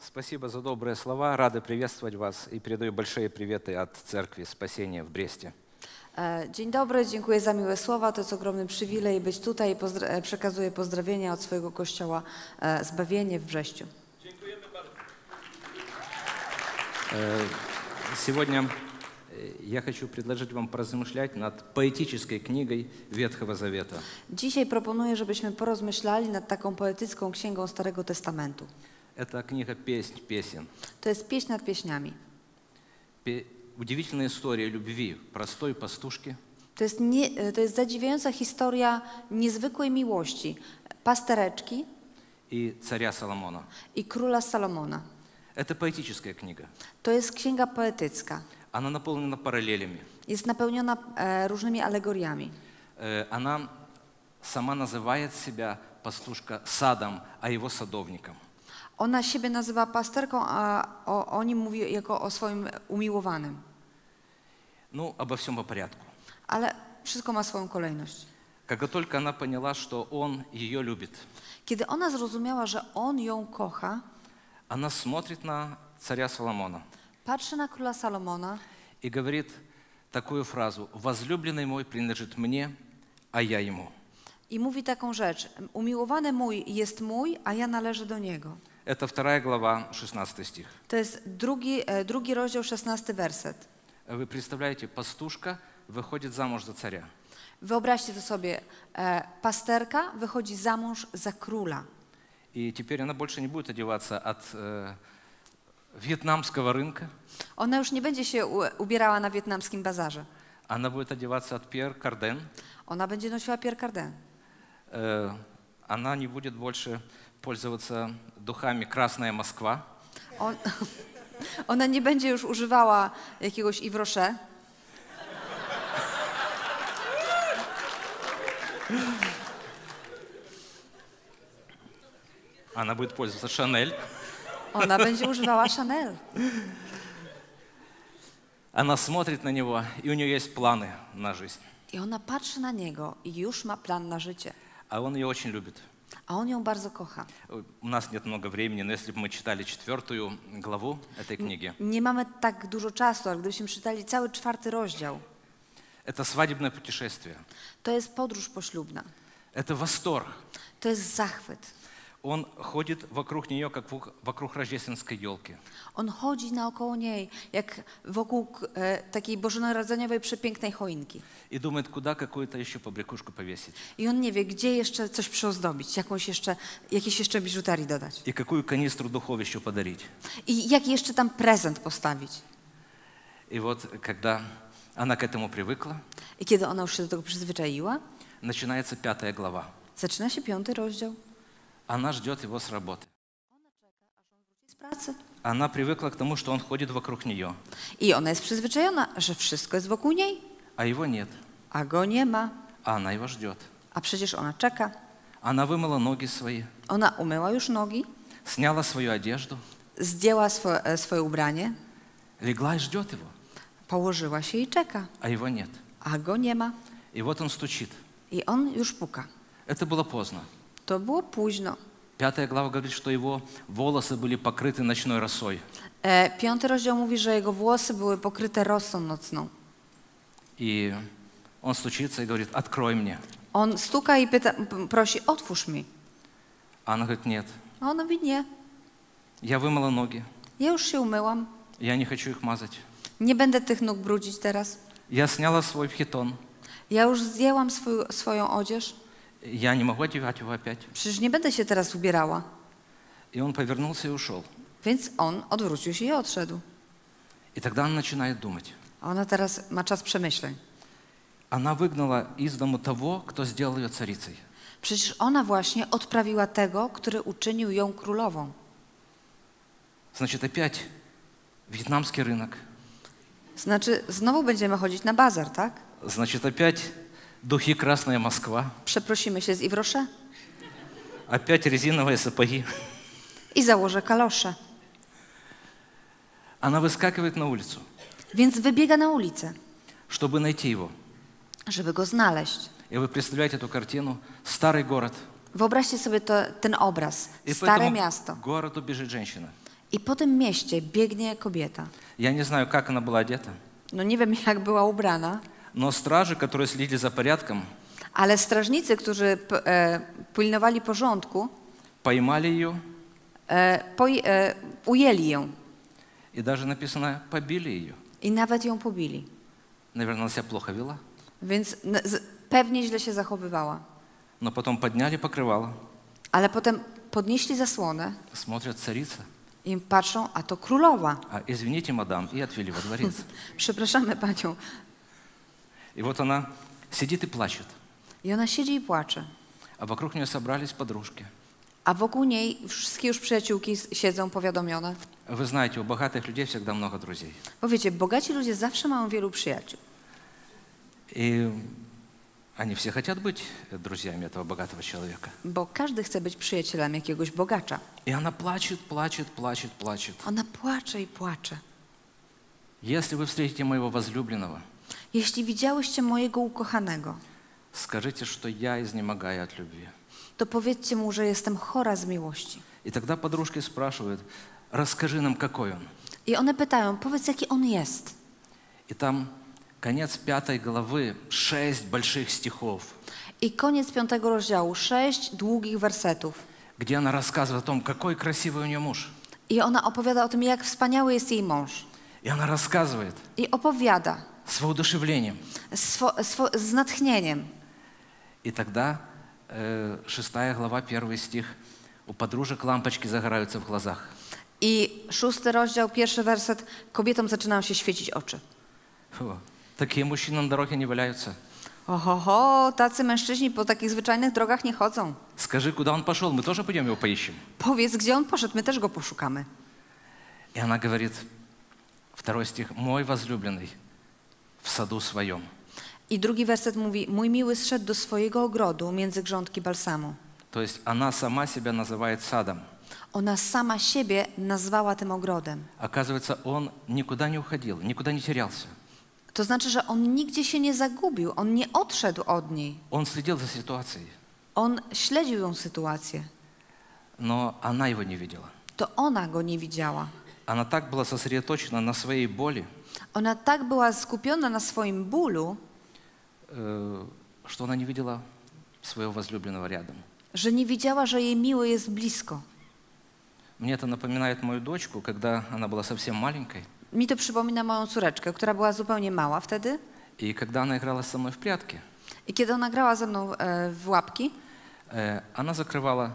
Спасибо за добрые слова. Рады приветствовать вас и передаю большие приветы от Церкви Спасения в Бресте. E, Dzień dobry, dziękuję za miłe słowa. To jest ogromny przywilej być tutaj i pozdra- e, przekazuję pozdrowienia od swojego kościoła e, Zbawienie w Brześciu. Сегодня э, я хочу предложить вам поразмышлять над поэтической книгой Ветхого Завета. Dzisiaj proponuję, żebyśmy porozmyślali nad taką poetycką księgą Starego Testamentu. Это книга «Песнь песен». To jest pieśń nad pieśniami. Пе- Удивительная история любви простой пастушки To jest, nie, e, to jest zadziwiająca historia niezwykłej miłości pastereczki и царя Соломона. i króla Salomona. Это поэтическая книга. To jest księga poetycka. Она наполнена параллелями. Jest napełniona e, różnymi alegoriami. Э, Она сама называет себя пастушка садом, а его садовником. Ona siebie nazywa pasterką, a o, o nim mówi jako o swoim umiłowanym. Ну, обо всем по порядку. Ale wszystko ma swoją kolejność. Как только она поняла, что он ее любит, Kiedy ona zrozumiała, że on ją kocha, она смотрит на царя Соломона patrzy na króla Salomona и говорит такую фразу «Возлюбленный мой принадлежит мне, а я ему». i mówi taką rzecz: Umiłowany mój jest mój, a ja należę do niego. Это вторая глава, 16 стих. To jest drugi, e, drugi rozdział, 16 werset. Вы представляете, пастушка выходит замуж за царя. Wyobraźcie to sobie: e, pasterka wychodzi za mąż za króla. И теперь она больше не будет одеваться от э, вьетнамского рынка, Ona już nie będzie się u- ubierała na wietnamskim bazarze. она будет одеваться от Пьер Карден, Ona będzie nosiła Pierre Cardin. э, она не будет больше пользоваться духами «Красная Москва», On, ona nie będzie już używała jakiegoś Yves Rocher. она будет пользоваться «Шанель», Ona będzie używała Chanel. она смотрит на него, и у нее есть планы на жизнь, I ona patrzy na niego i już ma plan na życie. а он ее очень любит. A on ją bardzo kocha. Э, У нас нет много времени, но если бы мы читали четвертую главу этой книги, Nie mamy tak dużo czasu, ale gdybyśmy czytali cały czwarty rozdział, это свадебное путешествие, to jest podróż poślubna. это восторг. To jest zachwyt. Он ходит вокруг нее, как вок- вокруг рождественской елки. On chodzi naokoło niej, jak wokół k- e, takiej bożonarodzeniowej przepięknej choinki. и думает, куда какую-то еще побрякушку повесить. I on nie wie, gdzie jeszcze coś przyozdobić, jakąś jeszcze, jakieś jeszcze biżuterii dodać. И какую канистру духов еще подарить. I jaki jeszcze tam prezent postawić. И вот, когда она к этому привыкла, I kiedy ona już się do tego przyzwyczaiła, начинается пятая глава. zaczyna się piąty rozdział Она ждет его с работы. z pracy. Она привыкла к тому, что он ходит вокруг нее, I ona jest przyzwyczajona, że wszystko jest wokół niej, а его нет. a go nie ma, А она его ждет. a przecież ona czeka. Она вымыла ноги свои, Ona umyła już nogi, сняла свою одежду, zdjęła swo, e, swoje ubranie, легла и ждет его, położyła się i czeka, а его нет. a go nie ma. И вот он стучит. I on już puka. Это было поздно. To było późno. Пятая глава говорит, что его волосы были покрыты ночной росой. E, piąty rozdział mówi, że jego włosy były pokryte rosą nocną. И он стучится и говорит, открой мне. On stuka i pyta, p- prosi, otwórz mi. А она говорит, нет, A on mówi, nie, я вымыла ноги, ja już się umyłam, я не хочу их мазать. nie będę tych nóg brudzić teraz. Я сняла свой хитон, Ja już zdjęłam swój, swoją odzież, я не могу одевать его опять. przecież nie będę się teraz ubierała. И он повернулся и ушел. Więc on odwrócił się i odszedł. И тогда она начинает думать. A ona teraz ma czas przemyśleń. Она выгнала из дому того, кто сделал ее царицей. Przecież ona właśnie odprawiła tego, który uczynił ją królową. Значит, опять вьетнамский рынок. Znaczy, znowu będziemy chodzić na bazar, tak? Значит, опять духи «Красная Москва». Przeprosimy się z Iwrosze Опять резиновые сапоги. i założę kalosze. Она выскакивает на улицу, Więc wybiega na ulicę, чтобы найти его. żeby go znaleźć. И вы представляете эту картину? Старый город. Wyobraźcie sobie to, ten obraz, И stare поэтому miasto. к городу бежит женщина. I po tym mieście biegnie kobieta. Я не знаю, как она была одета, No nie wiem, jak była ubrana, но стражи, которые следили за порядком, ale strażnicy, którzy p- e, pilnowali porządku, поймали ее e, poj- e, ujęli ją и даже, написано, побили ее. i nawet ją pobili. Наверное, она себя плохо вела. Więc n- z- pewnie źle się zachowywała. Но потом подняли покрывало, Ale potem podnieśli zasłonę смотрят царица. i patrzą, a to królowa. А, извините, мадам, и отвели во дворец. Przepraszamy panią. И вот она сидит и плачет, I ona siedzi i płacze. а wokруг нее собрались подружки. A wokół niej wszystkie już przyjaciółki s- siedzą powiadomione. Вы знаете, у богатых людей всегда много друзей. Bo wiecie, bogaci ludzie zawsze mają wielu przyjaciół. И они все хотят быть друзьями этого богатого человека. Bo każdy chce być przyjacielem jakiegoś bogacza. И она плачет, плачет, плачет, плачет. Ona płacze i płacze. Если вы встретите моего возлюбленного, Jeśli widziałyście mojego ukochanego, скажите, что я изнемогаю от любви. to powiedzcie mu, że jestem chora z miłości. И тогда подружки спрашивают, расскажи нам, какой он. I one pytają, powiedz jaki on jest. И там конец пятой главы, шесть больших стихов, I koniec piątego rozdziału, sześć długich wersetów. где она рассказывает о том, какой красивый у нее муж. I ona opowiada o tym, jak wspaniały jest jej mąż. И она рассказывает I opowiada с воодушевлением. swo, swo, z natchnieniem. И тогда э, шестая глава, первый стих. У подружек лампочки загораются в глазах. I szósty rozdział, pierwszy werset, kobietom zaczynają się świecić oczy. Фу. Такие mужчины на дороге не валяются. Ohoho, tacy mężczyźni po takich zwyczajnych drogach nie chodzą. Скажи, куда он пошел, мы тоже пойдем его поищем. Powiedz, gdzie on poszedł, my też go poszukamy. И она говорит, второй стих, мой возлюбленный в саду своем. I drugi werset mówi, mój miły zszedł do swojego ogrodu między grządki balsamu. То есть она сама себя называет садом. Ona sama siebie nazwała tym ogrodem. Оказывается, он никуда не уходил, никуда не терялся. To znaczy, że on nigdzie się nie zagubił, on nie odszedł od niej. Он следил за ситуацией, On śledził tą sytuację. но она его не видела. To ona go nie widziała. Она так была сосредоточена на своей боли, Ona tak była skupiona na swoim bólu, э, что она не видела своего возлюбленного рядом. że nie widziała, że jej miły jest blisko. Мне это напоминает мою дочку, когда она была совсем маленькой, Mi to przypomina moją córeczkę, która była zupełnie mała wtedy. и когда она играла со мной в прятки, I kiedy ona grała ze mną e, w łapki, э, она закрывала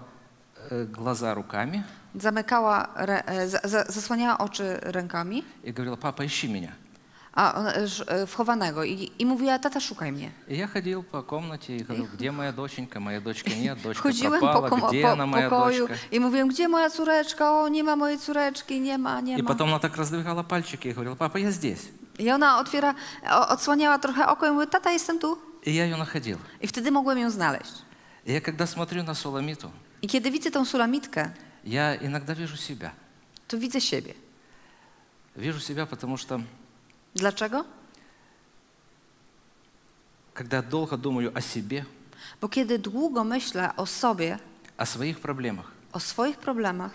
э, глаза rukami zamykała, re, e, za, za, zasłaniała oczy rękami, и говорила, папа, ищи меня. a ona, e, sz- e, wchowanego i, i mówiła, tata szukaj mnie. И я ходил по комнате и говорил, где моя доченька, моя дочка нет, дочка Chodziłem po, пропала, komo- где она, po моя pokoju дочка. i mówiłem, gdzie moja córeczka? O, nie ma mojej córeczki, nie ma, nie И ma. потом она так раздвигала pальчики и говорила, папа, я здесь. I ona otwiera, o, odsłaniała trochę oko i mówi, tata, jestem tu. И я ее находил. I wtedy mogłem ją znaleźć. И я когда смотрю на Соломиту, I kiedy widzę tą sulamitkę, я иногда вижу себя. to widzę siebie. Вижу себя, потому что Dlaczego? когда я долго думаю о себе, Bo kiedy długo myślę o sobie, о своих проблемах, o swoich problemach,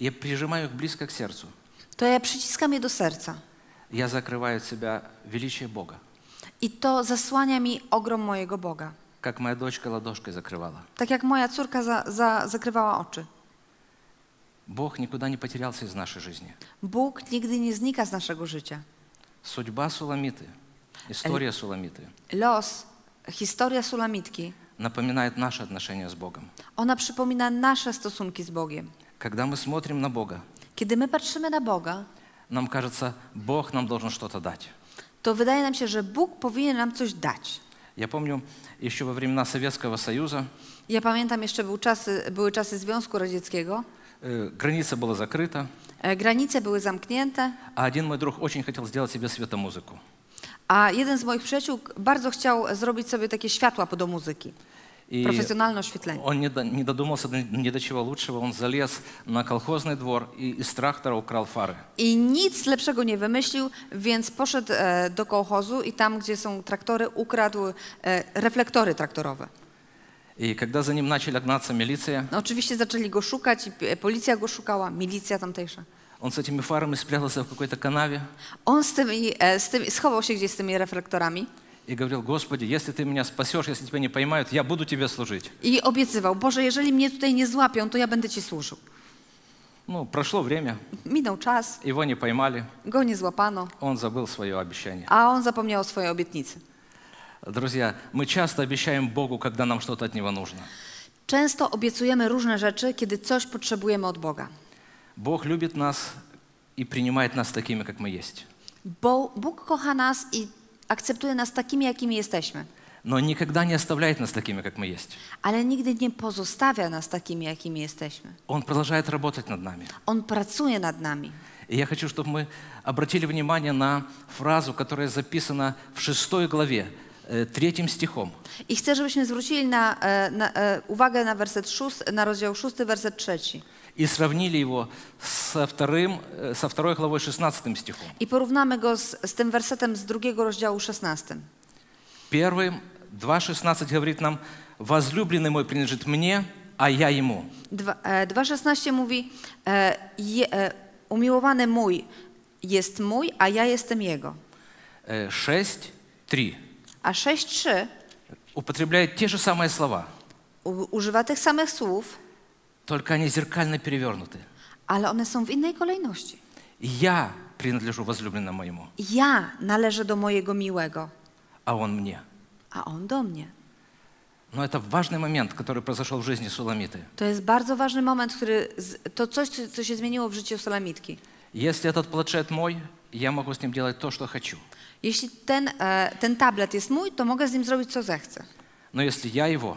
я прижимаю их близко к сердцу, to ja przyciskam je do serca. я закрываю от себя величие Бога, I to zasłania mi ogrom mojego Boga. как моя дочка ладошкой закрывала. Tak jak moja córka za, za, zakrywała oczy. Бог никуда не потерялся из нашей жизни. Bóg nigdy nie znika z naszego życia. Судьба Суламиты, история Суламиты Los, historia sulamitki, напоминает наше отношение с Богом. ona przypomina nasze stosunki z Bogiem. Когда мы смотрим на Бога, Kiedy my patrzymy na Boga, нам кажется, Бог нам должен что-то дать. to wydaje nam się, że Bóg powinien nam coś dać. Я помню, еще во времена Советского Союза Ja pamiętam jeszcze był czasy, były czasy Związku Radzieckiego. э, граница была закрыта, E, Granice były zamknięte, а один мой друг очень хотел сделать себе светомузыку. a jeden z moich przyjaciół bardzo chciał zrobić sobie takie światła do muzyki, И profesjonalne oświetlenie. он не, до- не додумался до- ни до чего лучшего, он залез на колхозный двор и из трактора украл фары. I nic lepszego nie wymyślił, więc poszedł e, do kołchozu i tam, gdzie są traktory, ukradł e, reflektory traktorowe. И когда за ним начали гнаться милиция, e, No, oczywiście zaczęli go szukać, i p- policja go szukała, milicja tamtejsza. Он с этими фарами спрятался в какой-то канаве On z tymi, e, z tymi, schował się gdzieś z tymi reflektorami и говорил, Господи, если ты меня спасешь, если тебя не поймают, я буду тебе служить. i obiecywał, Boże, jeżeli mnie tutaj nie złapią, to ja będę Ci służył. Ну, прошло время, Minął czas, его не поймали, go nie złapano, он забыл свое обещание. a on zapomniał o swojej obietnicy. Друзья, мы часто обещаем Богу, когда нам что-то от Него нужно. Często obiecujemy różne rzeczy, kiedy coś potrzebujemy od Boga. Бог любит нас и принимает нас такими, как мы есть. Bo Bóg kocha nas i akceptuje nas takimi, jakimi jesteśmy, Но никогда не оставляет нас такими, как мы есть. ale nigdy nie pozostawia nas takimi, jakimi jesteśmy. Он продолжает работать над нами. On pracuje nad nami. И я хочу, чтобы мы обратили внимание на фразу, которая записана в шестой главе, э, третьим стихом. I chcę, żebyśmy zwrócili na, e, na, e, uwagę na werset szóst, na rozdział 6, werset 3. И сравнили его со, вторым, э, со второй главой 16 стихом. I porównamy go z, z tym wersetem z drugiego rozdziału 16. Первым, 2.16 говорит нам, «Возлюбленный мой принадлежит мне, а я ему». Dwa- e, 2,16 mówi: e, je, e, Umiłowany mój jest mój, a ja jestem jego. Э, 6.3 A 6,3 употребляет те же самые слова, u- używa tych samych słów, только они зеркально перевернуты. ale one są w innej kolejności. «Я принадлежу возлюбленному моему, Ja należę do mojego miłego, а он мне». a on do mnie. Но это важный момент, который произошел в жизни Суламиты. To jest bardzo ważny moment, który z, to coś, co- co się zmieniło w życiu Salamitki. Если этот планшет мой, я могу с ним делать то, что хочу. Jeśli ten, e, ten tablet jest mój, to mogę z nim zrobić co zechcę. Но если я его,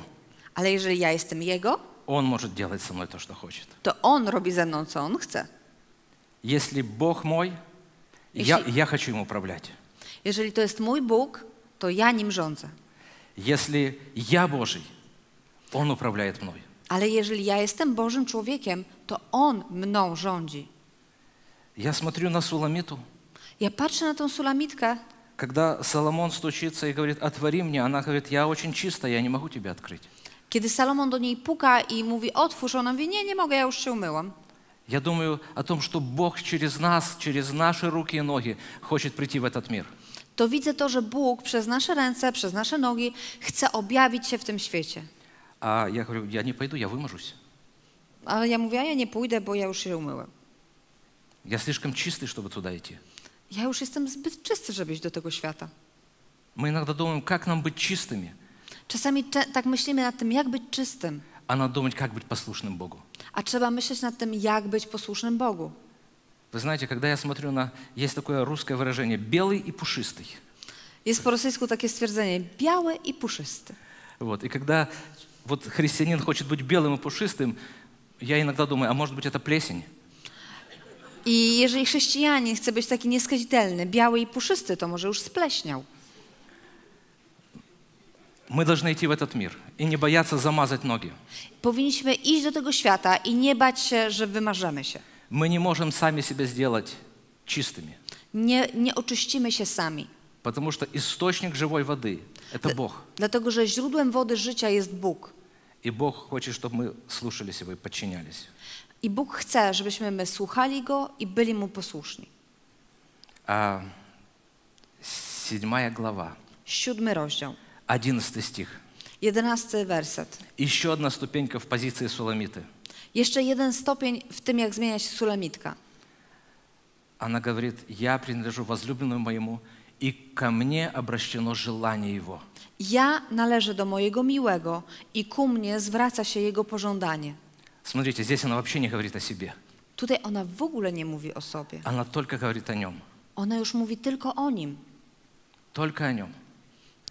Ale jeżeli ja jestem jego, он может делать со мной то, что хочет. to on robi ze mną, co on chce. Если Бог мой, я, Если- я хочу им управлять. Jeżeli to jest mój Bóg, to ja nim rządzę. Если я Божий, он управляет мной. Ale jeżeli ja jestem Bożym człowiekiem, to on mną rządzi. Я смотрю на Суламиту, Ja patrzę na tą sulamitkę, когда Соломон стучится и говорит, отвори мне, она говорит, я очень чистая, я не могу тебя открыть. kiedy Salomon do niej puka i mówi otwórz, ona mówi nie, nie mogę, ja już się umyłam. Я думаю о том, что Бог через нас, через наши руки и ноги хочет прийти в этот мир. To widzę to, że Bóg przez nasze ręce, przez nasze nogi chce objawić się w tym świecie. А я говорю, я не пойду, я выможусь. Ale ja mówię, a ja nie pójdę, bo ja już się umyłem. Я слишком чистый, чтобы туда идти. Ja już jestem zbyt czysty, żeby iść do tego świata. Мы иногда думаем, как нам быть чистыми, Czasami cze- tak myślimy nad tym, jak być czystym, а надо думать, как быть послушным Богу. a trzeba myśleć nad tym, jak być posłusznym Bogu. Вы знаете, когда я смотрю на... Есть такое русское выражение «белый и пушистый». Jest po rosyjsku takie stwierdzenie, biały i puszysty. Вот. И когда вот христианин хочет быть белым и пушистым, я иногда думаю, а может быть, это плесень? I jeżeli chrześcijanin chce być taki nieskazitelny, biały i puszysty, to może już spleśniał. Мы должны идти в этот мир и не бояться замазать ноги. Powinniśmy iść do tego świata i nie bać się, że wymarzemy się. Мы не можем сами себя сделать чистыми, Nie, nie oczyścimy się sami, потому что источник живой воды – это Бог. dlatego że źródłem wody życia jest Bóg. И Бог хочет, чтобы мы слушались его и подчинялись. I Bóg chce, żebyśmy my słuchali Go i byli Mu posłuszni. А, седьмая глава, Siódmy rozdział, одиннадцатый стих. jedenasty werset. Еще одна ступенька в позиции Суламиты. Jeszcze jeden stopień w tym, jak zmienia się sulamitka. Она говорит, я принадлежу возлюбленному моему, и ко мне обращено желание его. Ja należę do mojego miłego i ku mnie zwraca się jego pożądanie. Смотрите, здесь она вообще не говорит о себе. Tutaj ona w ogóle nie mówi o sobie. Она только говорит о нем. Ona już mówi tylko o nim. Только о нем.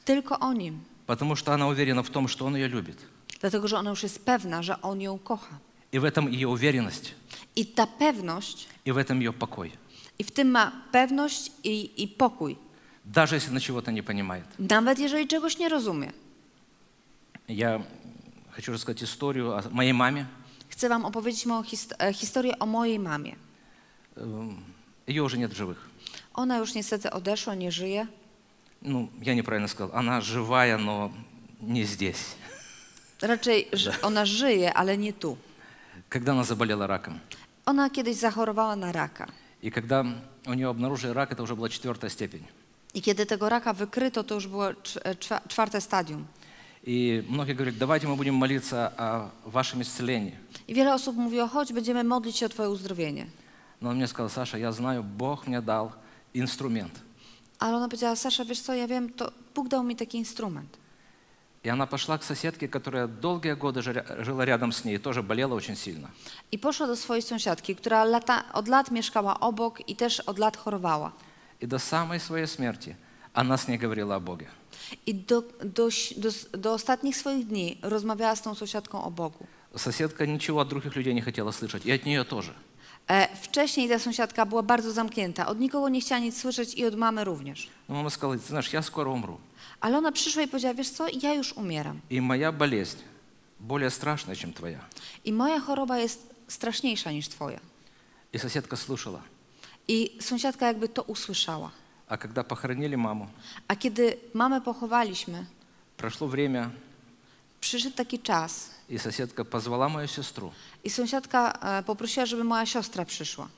Tylko o nim. Потому что она уверена в том, что он ее любит. Dlatego, że ona już jest pewna, że on ją kocha. И в этом ее уверенность, I ta pewność, и в этом ее покой. i w tym ma pewność i, i pokój. Даже если она чего-то не понимает. Nawet jeżeli czegoś nie rozumie. Я хочу рассказать историю о моей маме. Chcę wam opowiedzieć moją hist- e, historię o mojej mamie. Эм, Ее уже нет в живых. Ona już niestety odeszła, nie żyje. Ну, я неправильно сказал. Она живая, но не здесь. Raczej ży- ona żyje, ale nie tu. Когда она заболела раком. Ona kiedyś zachorowała na raka. И когда у нее обнаружили рак, это уже была четвертая степень. I kiedy tego raka wykryto, to już było cz- e, czwa- czwarte stadium. И многие говорят, давайте мы будем молиться о вашем исцелении. I wiele osób mówiło, chodź, będziemy modlić się o Twoje uzdrowienie. Но он мне сказал, Саша, я znаю, Бог мне дал инструмент. Ale ona powiedziała, Sasza, wiesz co, ja wiem, to Bóg dał mi taki instrument. И она пошла к соседке, которая долгие годы жи- жила рядом с ней, тоже болела очень сильно. I poszła do swojej sąsiadki, która lata, od lat mieszkała obok i też od lat chorowała. И до самой своей смерти она с ней говорила о Боге. I do, do, do, do ostatnich swoich dni rozmawiała z tą sąsiadką o Bogu. Соседка ничего от других людей не хотела slышать, i от нее тоже. E, wcześniej ta sąsiadka była bardzo zamknięta, od nikogo nie chciała nic słyszeć i od mamy również. Но мама Ну, сказала, ты знаешь, я скоро умру, Ale ona przyszła i powiedziała, wiesz co, ja już umieram. и моя болезнь более страшная, чем твоя. I moja choroba jest straszniejsza niż twoja. И соседка слушала. I sąsiadka jakby to usłyszała. А когда похоронили маму, A kiedy mamę pochowaliśmy, прошло время, przyszedł taki czas и соседка позвала мою сестру. i sąsiadka e, poprosiła, żeby moja siostra przyszła.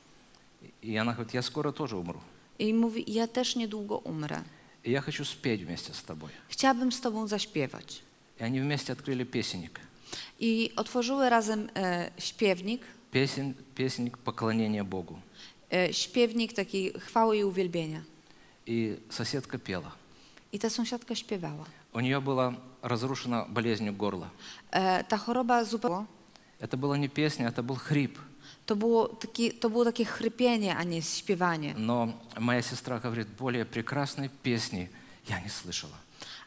И она говорит, я скоро тоже умру. I mówi, ja też niedługo umrę. И я хочу спеть вместе с тобой. Chciałabym z tobą zaśpiewać. И они вместе открыли песенник. I otworzyły razem e, śpiewnik, Песен, песенник поклонения Богу. e, śpiewnik takiej chwały i uwielbienia. И соседка пела. I ta sąsiadka śpiewała. У нее была разрушена болезнью горло. E, ta choroba zupełnie. Это была не песня, это был хрип. To było, taki, to było takie chrypienie, a nie śpiewanie. Но моя сестра говорит, более прекрасной песни я не slышала.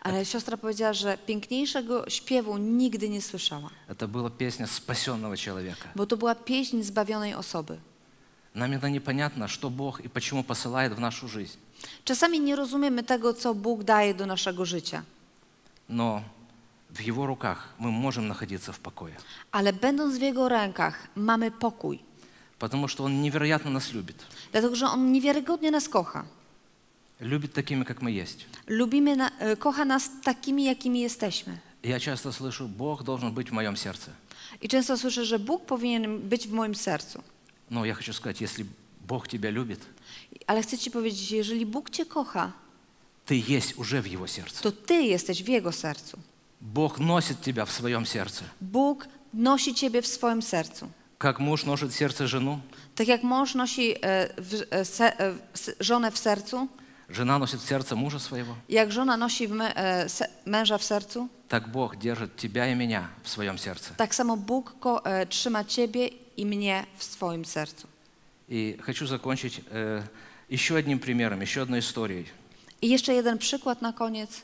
Ale siostra powiedziała, że piękniejszego śpiewu nigdy nie słyszała, Это была песня спасенного человека. bo to była pieśń zbawionej osoby. Нам иногда непонятно, что Бог и почему посылает в нашу жизнь. Czasami nie rozumiemy tego, co Bóg daje do naszego życia, Но в Его руках мы можем nachodzić w pokoju. ale będąc w Jego rękach mamy pokój, Потому что Он невероятно нас любит. dlatego że On niewiarygodnie nas kocha. Любит такими, как мы есть. Lubimy, na, e, kocha nas takimi, jakimi jesteśmy. Я часто слышу, Бог должен быть в моем сердце. I często słyszę, że Bóg powinien być w moim sercu. Но я хочу сказать, если Бог тебя любит, Ale chcę Ci powiedzieć, jeżeli Bóg Cię kocha, ты есть уже в Его сердце. to Ty jesteś w Jego sercu. Бог носит тебя в своем сердце. Bóg nosi Ciebie w swoim sercu. Как mуж носит в сердце жену, Tak jak mąż nosi e, w, e, se, e, s- żonę w sercu, жена носит в сердце мужа своего, jak żona nosi w me, e, se, męża w sercu, так Бог держит тебя и меня в своем сердце. tak samo Bóg ko, e, trzyma Ciebie i mnie w swoim sercu. И хочу закончить э, еще одним примером, еще одной историей. I jeszcze jeden przykład na koniec.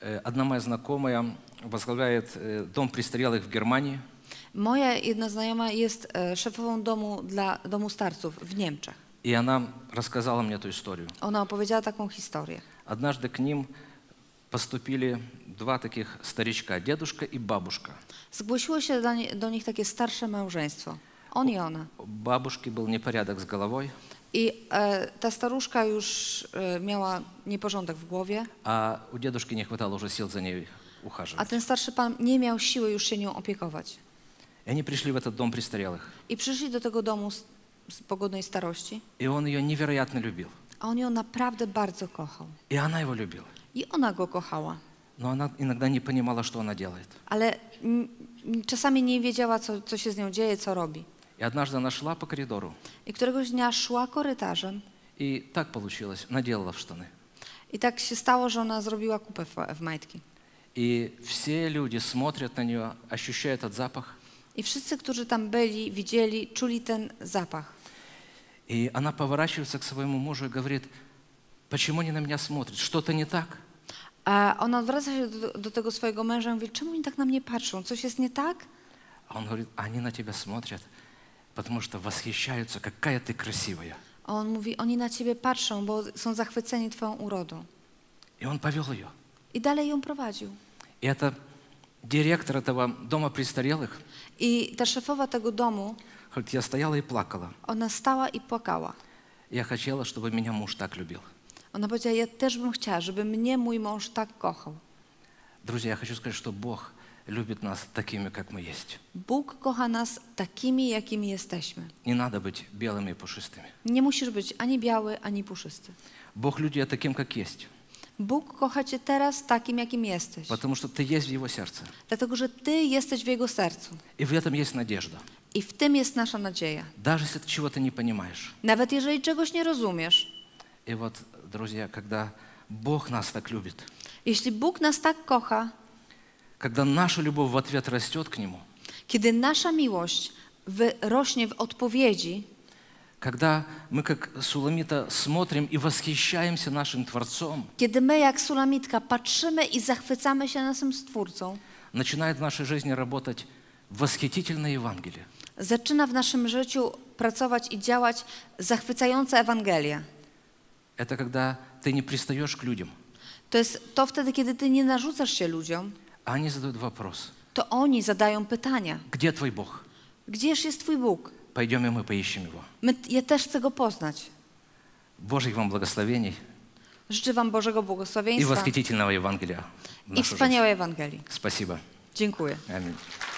Э, одна моя знакомая возглавляет э, дом престарелых в Германии. Moja jedna znajoma jest e, szefową domu dla domu starców w Niemczech. И она рассказала мне эту историю. Ona opowiedziała taką historię. Однажды к ним поступили два таких старичка, дедушка и бабушка. Zgłosiło się do, nie, do nich takie starsze małżeństwo. On i ona. У бабушки был непорядок с головой, I e, ta staruszka już e, miała nieporządek w głowie, а у дедушки не хватало уже сил за ней a ухаживать. ten starszy pan nie miał siły już się nią opiekować. И они пришли в этот дом престарелых. I przyszli do tego domu z, z pogodnej starości, И он ее невероятно любил. a on ją naprawdę bardzo kochał. И она его любила. I ona go kochała, Но она иногда не понимала, что она делает. ale n- n- czasami nie wiedziała, co, co się z nią dzieje, co robi. И однажды она шла по коридору. I któregoś dnia szła korytarzem И так получилось, наделала в штаны. i tak się stało, że ona zrobiła kupę w, w majtki. И все люди смотрят на нее, ощущая этот запах. I wszyscy, którzy tam byli, widzieli, czuli ten zapach. И она поворачивается к своему мужу и говорит, почему они на меня смотрят? Что-то не так? A ona odwraca się do, do tego swojego męża i mówi, czemu oni tak na mnie patrzą? Coś jest nie tak? А он говорит, они на тебя смотрят, потому что восхищаются, какая ты красивая. A on mówi, oni na ciebie patrzą, bo są zachwyceni twoją urodą. И он повел ее. I dalej ją prowadził. И это директор этого дома престарелых I ta szefowa tego domu, говорит, я стояла и плакала. ona stała i płakała. Я хотела, чтобы меня муж так любил. Ona powiedziała, ja też bym chciała, żeby mnie mój mąż tak kochał. Друзья, я хочу сказать, что Бог любит нас такими, как мы есть. Bóg kocha nas takimi, jakimi jesteśmy. Не надо быть белыми и пушистыми. Nie musisz być ani biały, ani puszysty. Бог людей таким, как есть, Bóg kocha cię teraz takim, jakim jesteś. потому что ты есть в Его сердце. Dlatego, że Ty jesteś w Jego sercu. И в этом есть надежда. I w tym jest nasza nadzieja. Даже если ты чего-то не понимаешь. Nawet jeżeli czegoś nie rozumiesz, И вот, друзья, когда Бог нас так любит, jeśli Bóg nas tak kocha, когда наша любовь в ответ растет к Нему, kiedy nasza miłość wyrośnie w odpowiedzi, когда мы, как Суламита, смотрим и восхищаемся нашим Творцом, kiedy my, jak Sulamitka, patrzymy i zachwycamy się naszym Stwórcą, начинает в нашей жизни работать восхитительное Евангелие. zaczyna w naszym życiu pracować i działać zachwycająca Ewangelia. Это когда ты не пристаешь к людям, To jest to wtedy, kiedy Ty nie narzucasz się ludziom, а они задают вопрос, to oni zadają pytania. где твой Бог? Gdzież jest Twój Bóg? Пойдем и мы поищем Его. My, t- ja też chcę Go poznać. Божьих вам благословений Życzę Wam Bożego и błogosławieństwa восхитительного Евангелия в i нашу жизнь. wspaniałej Ewangelii. Спасибо. Dziękuję. Аминь.